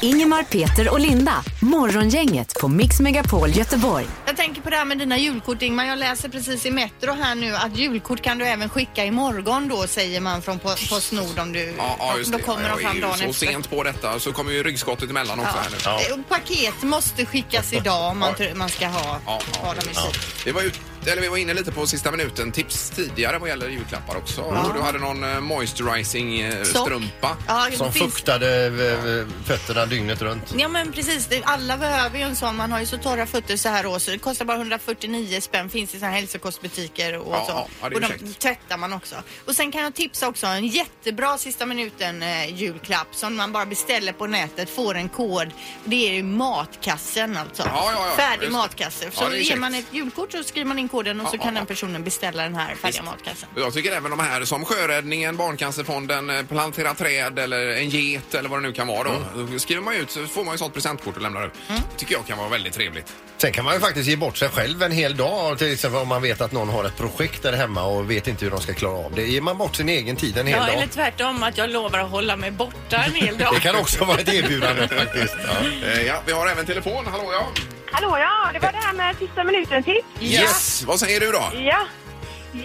Speaker 4: Ingemar, Peter och Linda. Morgongänget på Mix Megapol Göteborg.
Speaker 2: Jag tänker på det här med dina julkort Ingmar. Jag läser precis i Metro här nu att julkort kan du även skicka imorgon då säger man från Po- Postnord om du...
Speaker 1: Ja, ja, just
Speaker 2: då
Speaker 1: det.
Speaker 2: kommer de
Speaker 1: jag är
Speaker 2: fram
Speaker 1: ju
Speaker 2: dagen
Speaker 1: så
Speaker 2: efter.
Speaker 1: sent på detta så kommer ju ryggskottet emellan också här nu.
Speaker 2: Ja. Eh, och Paket måste skickas idag om man, tror- man ska ha,
Speaker 1: Ja,
Speaker 2: ha dem i tid.
Speaker 1: Vi var, ut, eller vi var inne lite på sista minuten tips tidigare vad gäller julklappar också. Och du hade någon eh, moisturizing eh,
Speaker 2: Sock.
Speaker 1: strumpa.
Speaker 2: Ja, det
Speaker 3: Som
Speaker 2: finns-
Speaker 3: fuktade eh, fötterna dygnet runt.
Speaker 2: Ja men precis, Det- alla behöver ju en sån. Man har ju så torra fötter så här år så det kostar bara 149 spänn. Finns i såna här hälsokostbutiker och
Speaker 1: Ja,
Speaker 2: så.
Speaker 1: ja, ja, det är
Speaker 2: och de
Speaker 1: käckt.
Speaker 2: tvättar man också. Och sen kan jag tipsa också om en jättebra sista minuten eh, julklapp som man bara beställer på nätet, får en kod. Det är ju matkassen alltså.
Speaker 1: ja, ja,
Speaker 2: Färdig
Speaker 1: just det.
Speaker 2: matkasse.
Speaker 1: Ja,
Speaker 2: Så
Speaker 1: det är
Speaker 2: ger
Speaker 1: käckt.
Speaker 2: man ett julkort så skriver man in koden och
Speaker 1: Ja,
Speaker 2: så
Speaker 1: ja,
Speaker 2: kan
Speaker 1: ja.
Speaker 2: den personen beställa den här färdiga matkassen.
Speaker 1: Och Jag tycker även de här som Sjöräddningen, Barncancerfonden, eh, Plantera träd eller en get eller vad det nu kan vara. Då,
Speaker 2: Mm.
Speaker 1: då skriver man ut så får man ju sånt presentkort och lämnar ut. tycker jag kan vara väldigt trevligt.
Speaker 3: Sen kan man ju faktiskt ge bort sig själv en hel dag. Till exempel om man vet att någon har ett projekt där hemma och vet inte hur de ska klara av det. Ger man bort sin egen tid en hel
Speaker 7: Ja, eller
Speaker 3: dag.
Speaker 7: tvärtom, att jag lovar att hålla mig borta en hel dag.
Speaker 3: Det kan också vara ett
Speaker 1: (laughs)
Speaker 3: erbjudande faktiskt. Ja.
Speaker 1: Eh, ja, vi har även telefon. Hallå ja!
Speaker 10: Hallå ja, det var det här med sista minuten tips.
Speaker 1: Yes! Vad säger du då?
Speaker 10: Ja.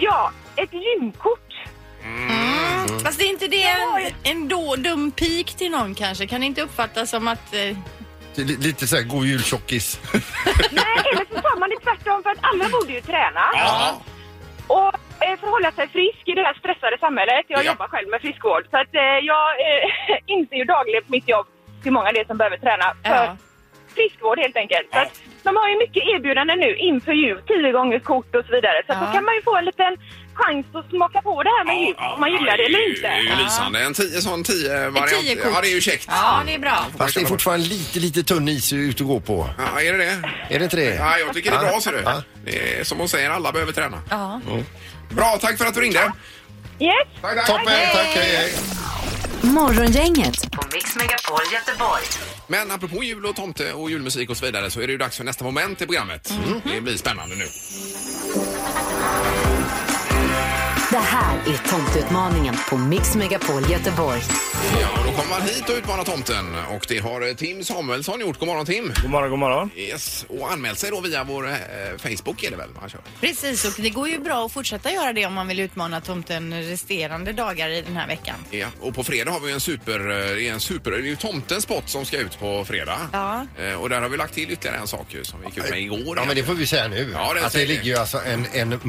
Speaker 10: Ja, ett gymkort.
Speaker 2: Mm.
Speaker 1: Mm.
Speaker 2: Fast det är inte det en, en då, dum pik till någon kanske? Kan det inte uppfattas som att eh,
Speaker 3: Det är li- Lite såhär god jul tjockis.
Speaker 10: Nej, eller så tar man det tvärtom för att alla borde ju träna.
Speaker 1: Ja.
Speaker 10: Och eh, förhålla sig frisk i det här stressade samhället. Jag
Speaker 1: Ja.
Speaker 10: jobbar själv med friskvård så att eh, jag eh, (laughs) inser ju dagligen på mitt jobb hur många det är som behöver träna för
Speaker 7: Ja.
Speaker 10: friskvård helt enkelt. Så
Speaker 1: Ja.
Speaker 10: att, de har ju mycket erbjudanden nu inför jul, tio gånger kort och så vidare. Så att
Speaker 7: Ja.
Speaker 10: då kan man ju få en liten chans att smaka på det här med jul, om man gillar det eller
Speaker 1: ju-
Speaker 10: inte.
Speaker 1: Det är ju lysande. En tio, sån tio variant.
Speaker 2: tio kort.
Speaker 1: ja, det är ju käckt.
Speaker 7: Ja, det är bra.
Speaker 3: Fast det är fortfarande lite, lite tunn is ut och gå på.
Speaker 1: Ja, är det det?
Speaker 3: Är det inte det?
Speaker 1: Ja, jag tycker det är bra ser du.
Speaker 3: Ja.
Speaker 1: Det är, som hon säger, alla behöver träna. Mm.
Speaker 7: Ja.
Speaker 1: Bra, tack för att du ringde.
Speaker 10: Yes.
Speaker 1: Tack, tack.
Speaker 3: Toppen, tack. Hej, hej.
Speaker 4: Morgongänget på Mix Megapol Göteborg.
Speaker 1: Men apropå jul och tomte och julmusik och så vidare så är det ju dags för nästa moment i programmet. Mm. Det blir spännande nu.
Speaker 4: Det här är tomteutmaningen på Mix Megapol Göteborg.
Speaker 1: Ja, och då kommer man hit och utmanar tomten och det har eh, Tim Samuelsson gjort. God morgon Tim!
Speaker 11: God morgon, god morgon.
Speaker 1: Yes, och anmält sig då via vår eh, Facebook är det väl? Man kör.
Speaker 2: Precis, och det går ju bra att fortsätta göra det om man vill utmana tomten resterande dagar i den här veckan.
Speaker 1: Ja, och på fredag har vi en super, eh, det är en super, det är ju tomtens spot som ska ut på fredag.
Speaker 2: Ja.
Speaker 1: Eh, Och där har vi lagt till ytterligare en sak ju som vi gick ut med igår.
Speaker 3: Ja, men det får vi säga nu.
Speaker 1: Ja, det
Speaker 3: att
Speaker 1: säger
Speaker 3: det
Speaker 1: vi.
Speaker 3: ligger ju alltså en, en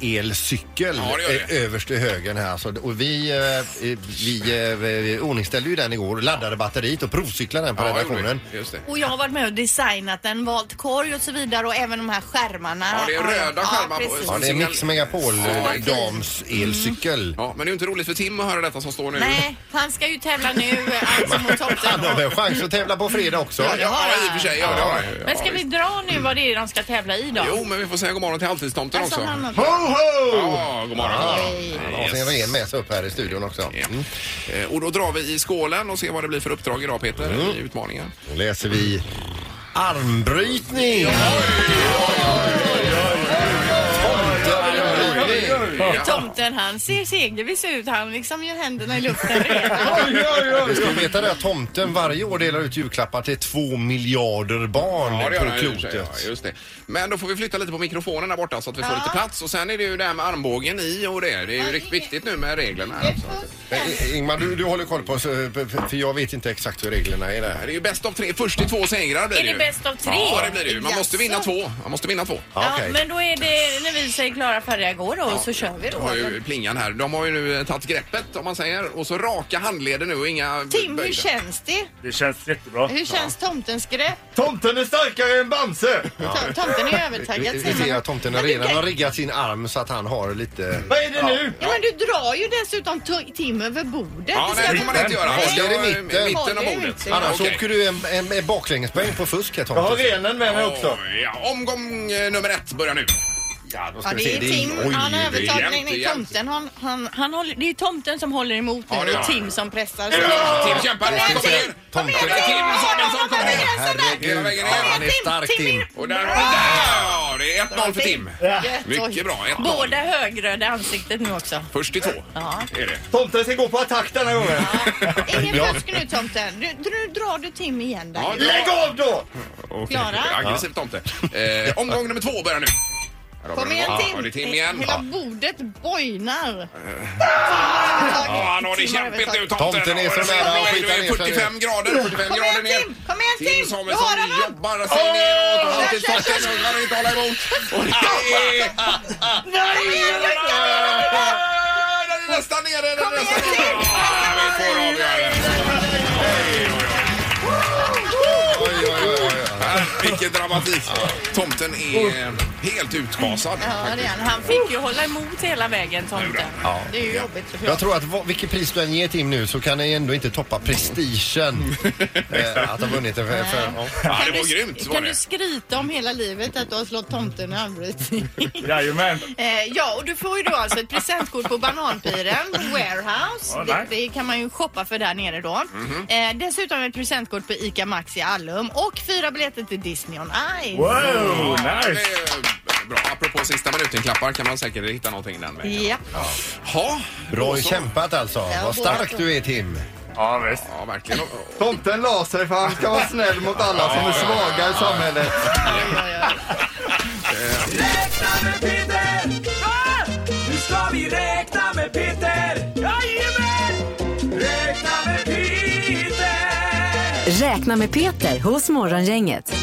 Speaker 3: Monark-elcykel
Speaker 1: Ja, det gör det.
Speaker 3: eh, överst i högern här. Alltså, och vi, eh, eh, vi eh, vi ordningställde ju den igår, laddade batteriet och provcyklade den på
Speaker 1: Ja, det gjorde vi.
Speaker 3: redaktionen.
Speaker 1: Just det.
Speaker 2: Och jag har varit med och designat den, valt korg och så vidare och även de här skärmarna.
Speaker 1: Ja, det är röda skärmar på-
Speaker 2: precis.
Speaker 3: Ja, det är Mix Megapol
Speaker 1: Ja, Mm.
Speaker 3: eh,
Speaker 1: exakt.
Speaker 3: dams-elcykel.
Speaker 1: Ja, men det är ju inte roligt för Tim att höra detta som står nu.
Speaker 2: Nej, han ska ju tävla nu, alltså mot
Speaker 3: Han har
Speaker 2: tomten.
Speaker 3: väl chans att tävla på fredag också?
Speaker 1: Ja, ja, i och för sig. Ja, det har jag. ja,
Speaker 7: Men ska vi
Speaker 1: visst.
Speaker 7: dra nu vad det är de ska tävla i då?
Speaker 1: Jo, men vi får säga god morgon till halvtidstomten
Speaker 2: Alltså,
Speaker 1: också.
Speaker 2: han har-
Speaker 3: Ho, ho!
Speaker 1: Ja, god morgon.
Speaker 3: Ja,
Speaker 1: Yes.
Speaker 3: Han har sin ren med sig upp här i studion också.
Speaker 1: Ja. Eh, Och då drar vi i skålen och ser vad det blir för uppdrag idag Peter i utmaningen.
Speaker 3: Då läser vi armbrytning. Tomtearmbrytning.
Speaker 7: Tomten han ser segerviss ut. Han liksom gör händerna i luften redan.
Speaker 3: Vi ska veta det att tomten varje år delar ut julklappar till två miljarder barn
Speaker 1: gör
Speaker 3: på
Speaker 1: han ju i och för sig, Ja,
Speaker 3: klotet.
Speaker 1: just det. Men då får vi flytta lite på mikrofonen där borta så att vi får lite plats. Och sen är det ju det här med armbågen i och det. Det är ju riktigt viktigt nu med reglerna. Här också.
Speaker 3: Men, I- Ingmar, du, du håller koll på oss, eh, f- f- för jag vet inte exakt hur reglerna är
Speaker 1: Det
Speaker 3: där.
Speaker 1: är ju bäst av tre. Först till två segrar blir
Speaker 7: Är
Speaker 1: det ju.
Speaker 7: det bäst av tre?
Speaker 1: Ja, det blir det ju. Man måste vinna två. Man måste vinna två.
Speaker 7: Ja,
Speaker 3: Okej.
Speaker 7: men då är det när vi säger klara, färdiga, gå då och så kör vi
Speaker 1: Jag
Speaker 7: då.
Speaker 1: har ju plingan här. De har ju nu eh, tagit greppet om man säger. Och så raka handleder nu och inga
Speaker 2: Tim, hur
Speaker 1: böjda.
Speaker 2: känns det?
Speaker 11: Det känns jättebra.
Speaker 2: Hur känns tomtens grepp?
Speaker 8: Tomten är starkare än Bamse!
Speaker 2: Tom- Tomten är
Speaker 3: Vi,
Speaker 2: övertaggad
Speaker 3: vi
Speaker 2: säger
Speaker 3: ser
Speaker 2: man.
Speaker 3: att tomten
Speaker 2: Men du
Speaker 3: redan
Speaker 2: kan-
Speaker 3: har riggat sin arm så att han har lite...
Speaker 8: Vad är det nu?
Speaker 2: Ja, men du drar ju dessutom to- Tim över bordet.
Speaker 1: Ja,
Speaker 2: Det ska
Speaker 1: nej, det
Speaker 2: vi-
Speaker 1: får man inte göra.
Speaker 2: Nej.
Speaker 1: Håll
Speaker 3: Håll i mitten.
Speaker 1: mitten av
Speaker 2: Håll i
Speaker 1: bordet.
Speaker 2: mitten.
Speaker 3: Annars
Speaker 1: Okej.
Speaker 3: åker du en, en, en baklängespoäng på fusk här
Speaker 8: Jag har
Speaker 3: tomten.
Speaker 8: renen med mig också.
Speaker 1: Oj, ja, omgång eh, nummer ett börjar nu.
Speaker 3: Ja, då ska
Speaker 2: Ja,
Speaker 3: vi
Speaker 2: det
Speaker 3: se.
Speaker 2: är Tim.
Speaker 3: Oj,
Speaker 2: han har
Speaker 3: det är
Speaker 2: övertagit.
Speaker 3: jämnt,
Speaker 2: Nej,
Speaker 3: det är
Speaker 2: nej,
Speaker 3: jämnt.
Speaker 2: tomten. Han, han, han håller, det är tomten som håller emot nu
Speaker 3: Ja, det är
Speaker 2: och
Speaker 3: han.
Speaker 2: Tim som pressar.
Speaker 1: Ja, Tim kämpar.
Speaker 2: Kom igen,
Speaker 1: Kom igen.
Speaker 2: Tim!
Speaker 1: Kom igen, Tim Samuelsson. Kom igen. Hela
Speaker 3: Herregud.
Speaker 1: vägen
Speaker 3: Ja,
Speaker 1: ner.
Speaker 3: han är stark Tim.
Speaker 1: Och där har vi där! Det är 1-0 för Tim. Mycket
Speaker 2: Jätteoj.
Speaker 1: bra. 1-0.
Speaker 2: Båda högröda i ansiktet nu också.
Speaker 1: Först i två.
Speaker 2: Ja.
Speaker 1: Är det.
Speaker 8: Tomten ska gå på attack denna gången.
Speaker 2: Ingen fusk nu tomten. Nu nu drar du Tim igen där.
Speaker 1: Ja,
Speaker 8: Lägg av då!
Speaker 1: Okay.
Speaker 2: Klara?
Speaker 1: Aggressiv tomte. Eh, omgång nummer två börjar nu. Här har vi
Speaker 2: Kom igen Tim!
Speaker 1: den. Ja, det är Tim igen.
Speaker 2: Hela bordet bojnar.
Speaker 1: Ja, han har det kämpigt nu tomten.
Speaker 3: Tomten är så
Speaker 1: Ja,
Speaker 3: nära att
Speaker 1: nu
Speaker 3: skita
Speaker 1: är
Speaker 3: ner sig
Speaker 1: 45
Speaker 3: nu.
Speaker 1: grader. 45
Speaker 2: Kom
Speaker 1: grader
Speaker 2: igen
Speaker 1: ner.
Speaker 2: Tim! Kom igen
Speaker 1: Tim
Speaker 2: Tim! Du
Speaker 1: Samuelsson
Speaker 2: har honom!
Speaker 1: jobbar sig neråt och
Speaker 2: Åh!
Speaker 1: har till stocken och kan inte hålla emot. Och det är... Den är nästan nere! Den är nästan nere! Ah, Vi får avgöra. Oj, oj,
Speaker 3: Oj, oj, oj,
Speaker 1: oj.
Speaker 3: oj, oj.
Speaker 1: Ah, Vilken dramatik. Tomten är helt utgasad.
Speaker 2: Ja, det är han. Han
Speaker 7: Fick ju hålla emot hela vägen, tomten.
Speaker 2: Det är ju jobbigt för
Speaker 3: Jag tror att vad, vilket pris du än ger Tim nu så kan det ändå inte toppa (laughs) prestigen eh, att ha vunnit en för, för, ja.
Speaker 1: Ja, det var grymt var
Speaker 2: Kan du
Speaker 1: det.
Speaker 2: skryta om hela livet att du har slått tomten i armbrytning?
Speaker 11: Jajamän.
Speaker 2: (laughs) Eh, ja, och du får ju då alltså ett presentkort på Bananpiren Warehouse.
Speaker 11: Ja,
Speaker 2: det,
Speaker 11: nice.
Speaker 2: det kan man ju shoppa för där nere då.
Speaker 1: Mhm.
Speaker 2: eh, dessutom ett presentkort på ICA Maxi Allum och fyra biljetter till Disney on Ice. Oh,
Speaker 11: Wow,
Speaker 1: Ja, det
Speaker 11: nice.
Speaker 1: är Bra. Apropå sista minuten-klappar kan man säkert hitta någonting den vägen.
Speaker 2: Ja.
Speaker 1: Ja,
Speaker 3: Bra
Speaker 1: då så.
Speaker 3: kämpat alltså. Vad stark du är Tim.
Speaker 11: Ja, visst.
Speaker 1: Ja, verkligen. Och- och-
Speaker 8: Tomten la sig för han ska vara snäll mot alla som är svaga i samhället.
Speaker 11: Nu ska vi räkna med Peter! Jajamän! Räkna med Peter!
Speaker 4: Räkna med Peter hos Morgongänget.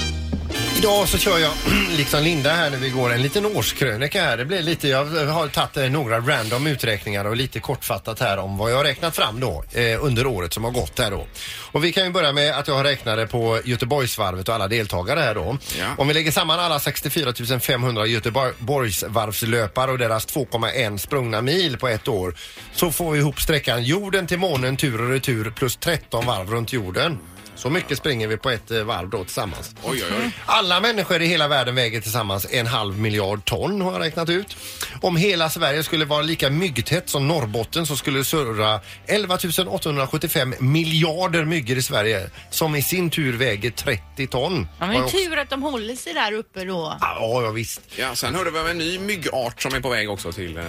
Speaker 3: Idag så kör jag, (clears throat) liksom Linda här när vi går, en liten årskrönika här. Det blir lite, jag har tagit eh, några random uträkningar och lite kortfattat här om vad jag har räknat fram då eh, under året som har gått här då. Och vi kan ju börja med att jag har räknade på Göteborgsvarvet och alla deltagare här då.
Speaker 1: Ja.
Speaker 3: Om vi lägger samman alla 64 500 Göteborgsvarvslöpare och deras 2,1 sprungna mil på ett år så får vi ihop sträckan jorden till månen tur och retur plus 13 varv runt jorden. Så mycket springer vi på ett eh, varv då tillsammans.
Speaker 1: Oj, oj, oj.
Speaker 3: Alla människor i hela världen väger tillsammans en halv miljard ton har jag räknat ut. Om hela Sverige skulle vara lika myggtätt som Norrbotten så skulle det surra 11 875 miljarder myggor i Sverige som i sin tur väger 30 ton.
Speaker 2: Ja,
Speaker 3: Har
Speaker 2: men
Speaker 3: jag också-
Speaker 2: tur att de håller sig där uppe då.
Speaker 3: Ja, ja visst.
Speaker 1: Ja, sen hörde vi om en ny myggart som är på väg också till, eh,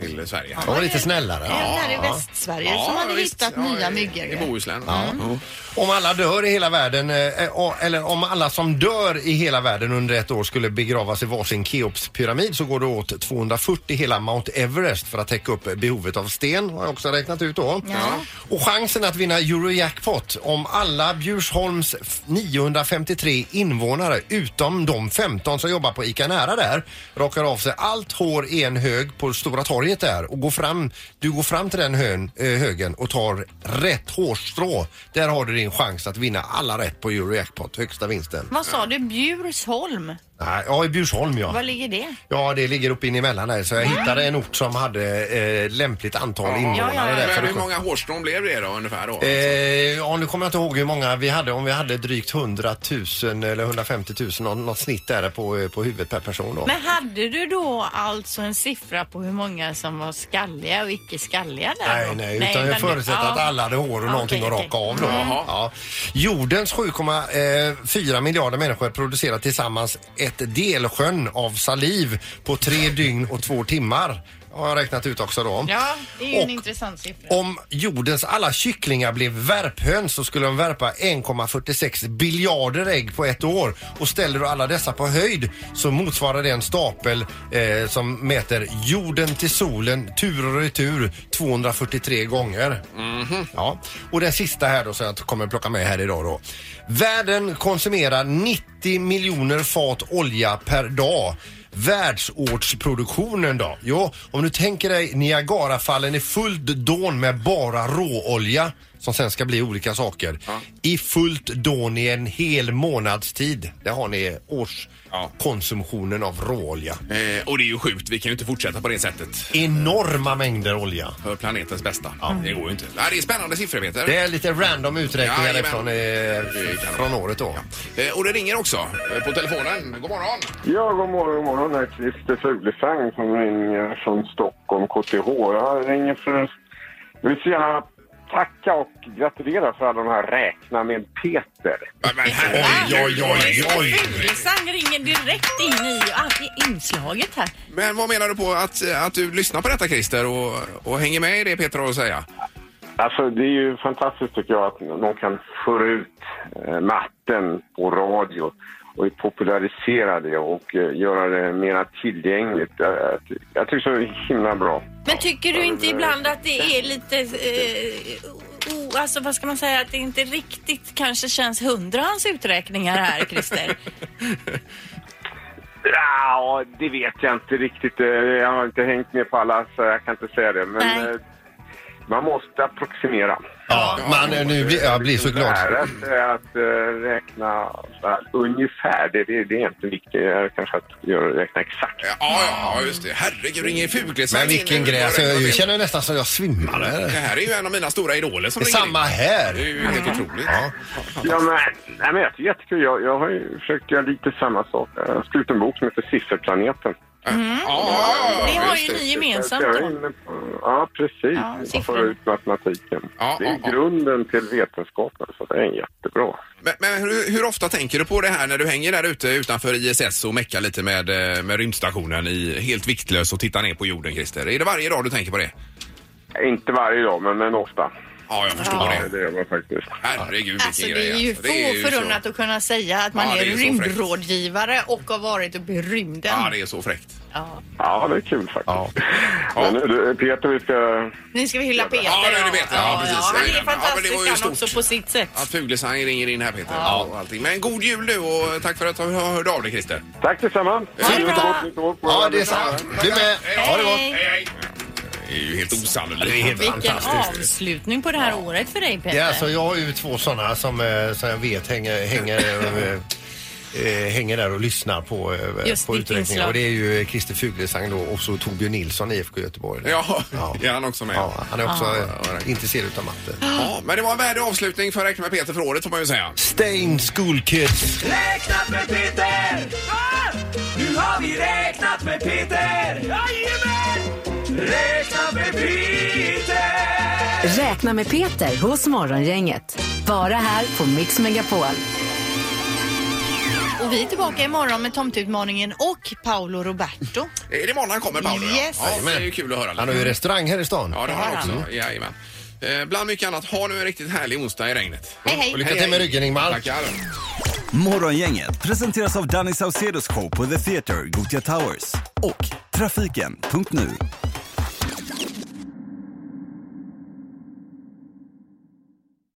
Speaker 1: till Sverige. här.
Speaker 3: De var lite snällare.
Speaker 2: Även här i Västsverige som hade
Speaker 1: visst.
Speaker 2: hittat nya
Speaker 1: Ja, i- I
Speaker 2: myggor.
Speaker 1: Bohuslän. Mm. Ja.
Speaker 3: Om alla dör i hela världen, eh, och- eller om alla som dör i hela världen under ett år skulle begravas i varsin Keopspyramid så går det åt 240 hela Mount Everest för att täcka upp behovet av sten har jag också räknat ut då. Och chansen att vinna Eurojackpot om alla Bjursholms f- 953 invånare utom de 15 som jobbar på ICA Nära där rakar av sig allt hår i en hög på Stora torget där och går fram, du går fram till den hön, eh, högen och tar rätt hårstrå. Där har du din chans att vinna alla rätt på Eurojackpot, högsta vinsten.
Speaker 2: Vad sa du? Bjursholm?
Speaker 3: Nej, ja, i Bjursholm ja.
Speaker 2: Var ligger det?
Speaker 3: Ja, det ligger upp in emellan där så jag hittade en ort som hade eh, lämpligt antal invånare där. för
Speaker 1: Men
Speaker 3: att
Speaker 1: hur
Speaker 3: kunna-
Speaker 1: många hårstrån blev det då ungefär då?
Speaker 3: Eh, ja, nu kommer jag inte ihåg hur många vi hade. Om vi hade drygt 100 000 eller 150 000, något, något snitt där på, eh, på huvudet per person då.
Speaker 2: Men hade du då alltså en siffra på hur många som var skalliga och icke skalliga där? då?
Speaker 3: Nej, nej, utan jag
Speaker 2: men-
Speaker 3: förutsätter
Speaker 2: ja.
Speaker 3: att alla hade hår och
Speaker 2: Ja,
Speaker 3: någonting
Speaker 2: okej,
Speaker 3: att
Speaker 2: okej. Mm.
Speaker 3: raka av då. Ja. Jordens 7,4 miljarder människor producerar tillsammans ett delsjön av saliv på tre dygn och två timmar. Har jag räknat ut också då.
Speaker 2: Ja, det är ju en
Speaker 3: Och-
Speaker 2: intressant siffra.
Speaker 3: Om jordens alla kycklingar blev värphöns så skulle de värpa 1,46 biljarder ägg på ett år. Och ställer du alla dessa på höjd så motsvarar det en stapel eh, som mäter jorden till solen tur och retur 243 gånger. Ja. Och den sista här då som jag kommer plocka med här idag då. Världen konsumerar 90 miljoner fat olja per dag världsårsproduktionen då? Jo, om du tänker dig Niagarafallen i fullt dån med bara råolja som sen ska bli olika saker. I fullt dån i en hel månads tid. Där har ni årskonsumtionen av råolja.
Speaker 1: Eh, och det är ju sjukt, vi kan ju inte fortsätta på det sättet.
Speaker 3: Enorma mängder olja.
Speaker 1: För planetens bästa. Mm. Det går ju inte. Nej, det är spännande siffror Peter.
Speaker 3: Det är lite random uträkningar
Speaker 1: Jajamän.
Speaker 3: från, eh, från året då.
Speaker 1: Eh, Och det ringer också eh, på telefonen. God morgon!
Speaker 9: Ja, god morgon, god morgon. Det är Christer Fuglesang som ringer från Stockholm, KTH. Jag ringer för att jag vill så gärna tacka och gratulera för alla de här Räkna med Peter.
Speaker 1: Oj, oj, oj, oj!
Speaker 7: Fuglesang ringer direkt in i i inslaget här.
Speaker 1: Men vad menar du på att, eh, att du lyssnar på detta Christer och, och hänger med i det Peter har att säga?
Speaker 9: Alltså, det är ju fantastiskt tycker jag att någon kan föra ut eh, matten på radio och popularisera det och eh, göra det mer tillgängligt. Eh, Jag tycker det är himla bra.
Speaker 7: Men tycker du inte ibland att det är lite... Eh, o- alltså vad ska man säga? Att det inte riktigt kanske känns hundra hans uträkningar här, Christer.
Speaker 9: Ja, det vet jag inte riktigt. Eh, Jag har inte hängt med på alla så jag kan inte säga det. Men
Speaker 7: Nej.
Speaker 9: eh, man måste approximera.
Speaker 3: Ja, man, eh, nu blir, jag blir så glad.
Speaker 9: Lära sig att eh, räkna så här, ungefär. Det, det, det är inte viktigare kanske att göra, räkna exakt.
Speaker 1: Ja, ja, ja, just det. Herregud, ringer Fuglesang
Speaker 3: Men vilken
Speaker 1: in.
Speaker 3: grej, alltså, jag känner nästan så jag svimmar.
Speaker 1: Det här är ju en av mina stora idoler som
Speaker 3: Det är
Speaker 1: ringer
Speaker 3: samma Mm.
Speaker 1: in.
Speaker 3: här.
Speaker 1: Det är ju helt otroligt. Ja.
Speaker 9: Ja, men, nej, men jag tycker det är jättekul. Jag, jag har ju försökt göra lite samma sak. Jag har skrivit en bok som heter Sifferplaneten.
Speaker 2: Mm.
Speaker 7: det har ju
Speaker 9: just det.
Speaker 7: ni gemensamt
Speaker 9: Jag är
Speaker 7: då.
Speaker 9: inne på- Ja, precis. Ja,
Speaker 7: siffror.
Speaker 9: Föra ut matematiken. det är grunden till vetenskapen, så det är jättebra.
Speaker 1: Men, men hur, hur ofta tänker du på det här när du hänger där ute utanför ISS och meckar lite med, eh, med rymdstationen i helt viktlös och tittar ner på jorden, Christer? Är det varje dag du tänker på det?
Speaker 9: Inte varje dag, men, men ofta.
Speaker 1: Ja, jag förstår det.
Speaker 9: Det gör man faktiskt.
Speaker 1: Herregud,
Speaker 2: Alltså det är ju
Speaker 1: alltså. Det är ju
Speaker 2: få förunnat att kunna säga att man
Speaker 1: Ja,
Speaker 2: är,
Speaker 1: det är så
Speaker 2: rymdrådgivare och har varit uppe i rymden.
Speaker 1: Ja, det är så fräckt.
Speaker 2: Ja.
Speaker 9: Ja, det är kul faktiskt. Men nu, du, Peter, vi ska...
Speaker 2: Nu ska vi hylla Peter.
Speaker 1: Ja, nu är det Peter. Ja, precis.
Speaker 2: han är
Speaker 1: Ja, men det
Speaker 2: fantastisk
Speaker 1: var ju
Speaker 2: han
Speaker 1: stort.
Speaker 2: också på sitt sätt.
Speaker 1: Att Fuglesang ringer in här, Peter.
Speaker 2: Ja.
Speaker 1: Och allting. Men god jul nu och tack för att du har hört av dig, Christer.
Speaker 9: Tack detsamma!
Speaker 3: Ja, det är sant. Du med. Ha det gott.
Speaker 2: Hej.
Speaker 1: Det är ju helt osannolikt.
Speaker 3: Det är helt
Speaker 2: Vilken
Speaker 3: fantastiskt.
Speaker 2: avslutning på det här året för dig Peter.
Speaker 3: Ja, alltså, jag har ju två sådana som, eh, som jag vet hänger, hänger, eh, eh, hänger där och lyssnar på, eh,
Speaker 2: Just
Speaker 3: på
Speaker 2: ditt
Speaker 3: uträkningen.
Speaker 2: inslag.
Speaker 3: Och det är ju eh, Christer Fuglesang då och så Torbjörn Nilsson IFK Göteborg.
Speaker 1: Ja, är han också med?
Speaker 3: Ja, han är också
Speaker 1: Ja.
Speaker 3: eh, intresserad av matte.
Speaker 1: Ja, men det var en värdig avslutning för Räkna med Peter för året får man ju säga.
Speaker 3: Stained School Kids.
Speaker 11: Räknat med Peter! Ah! Nu har vi räknat med Peter! Jajamän! Räknat med Peter!
Speaker 4: Räkna med Peter hos Morgongänget. Bara här på Mix Megapol.
Speaker 2: Och vi är tillbaka imorgon med tomteutmaningen och Paolo Roberto.
Speaker 1: Är det imorgon han kommer, Paolo? ja?
Speaker 2: Yes.
Speaker 1: Ja, det är ju kul att höra. lite.
Speaker 3: Han har ju restaurang här i stan.
Speaker 1: Ja, det har han också. Jajamän. Eh, bland mycket annat, ha nu en riktigt härlig onsdag i regnet.
Speaker 2: Hej, hej.
Speaker 3: Och lycka till med ryggen, Ingmar.
Speaker 1: Tackar.
Speaker 12: Morgongänget presenteras av Danny Saucedos show på The Theatre, Gotia Towers och Trafiken.nu.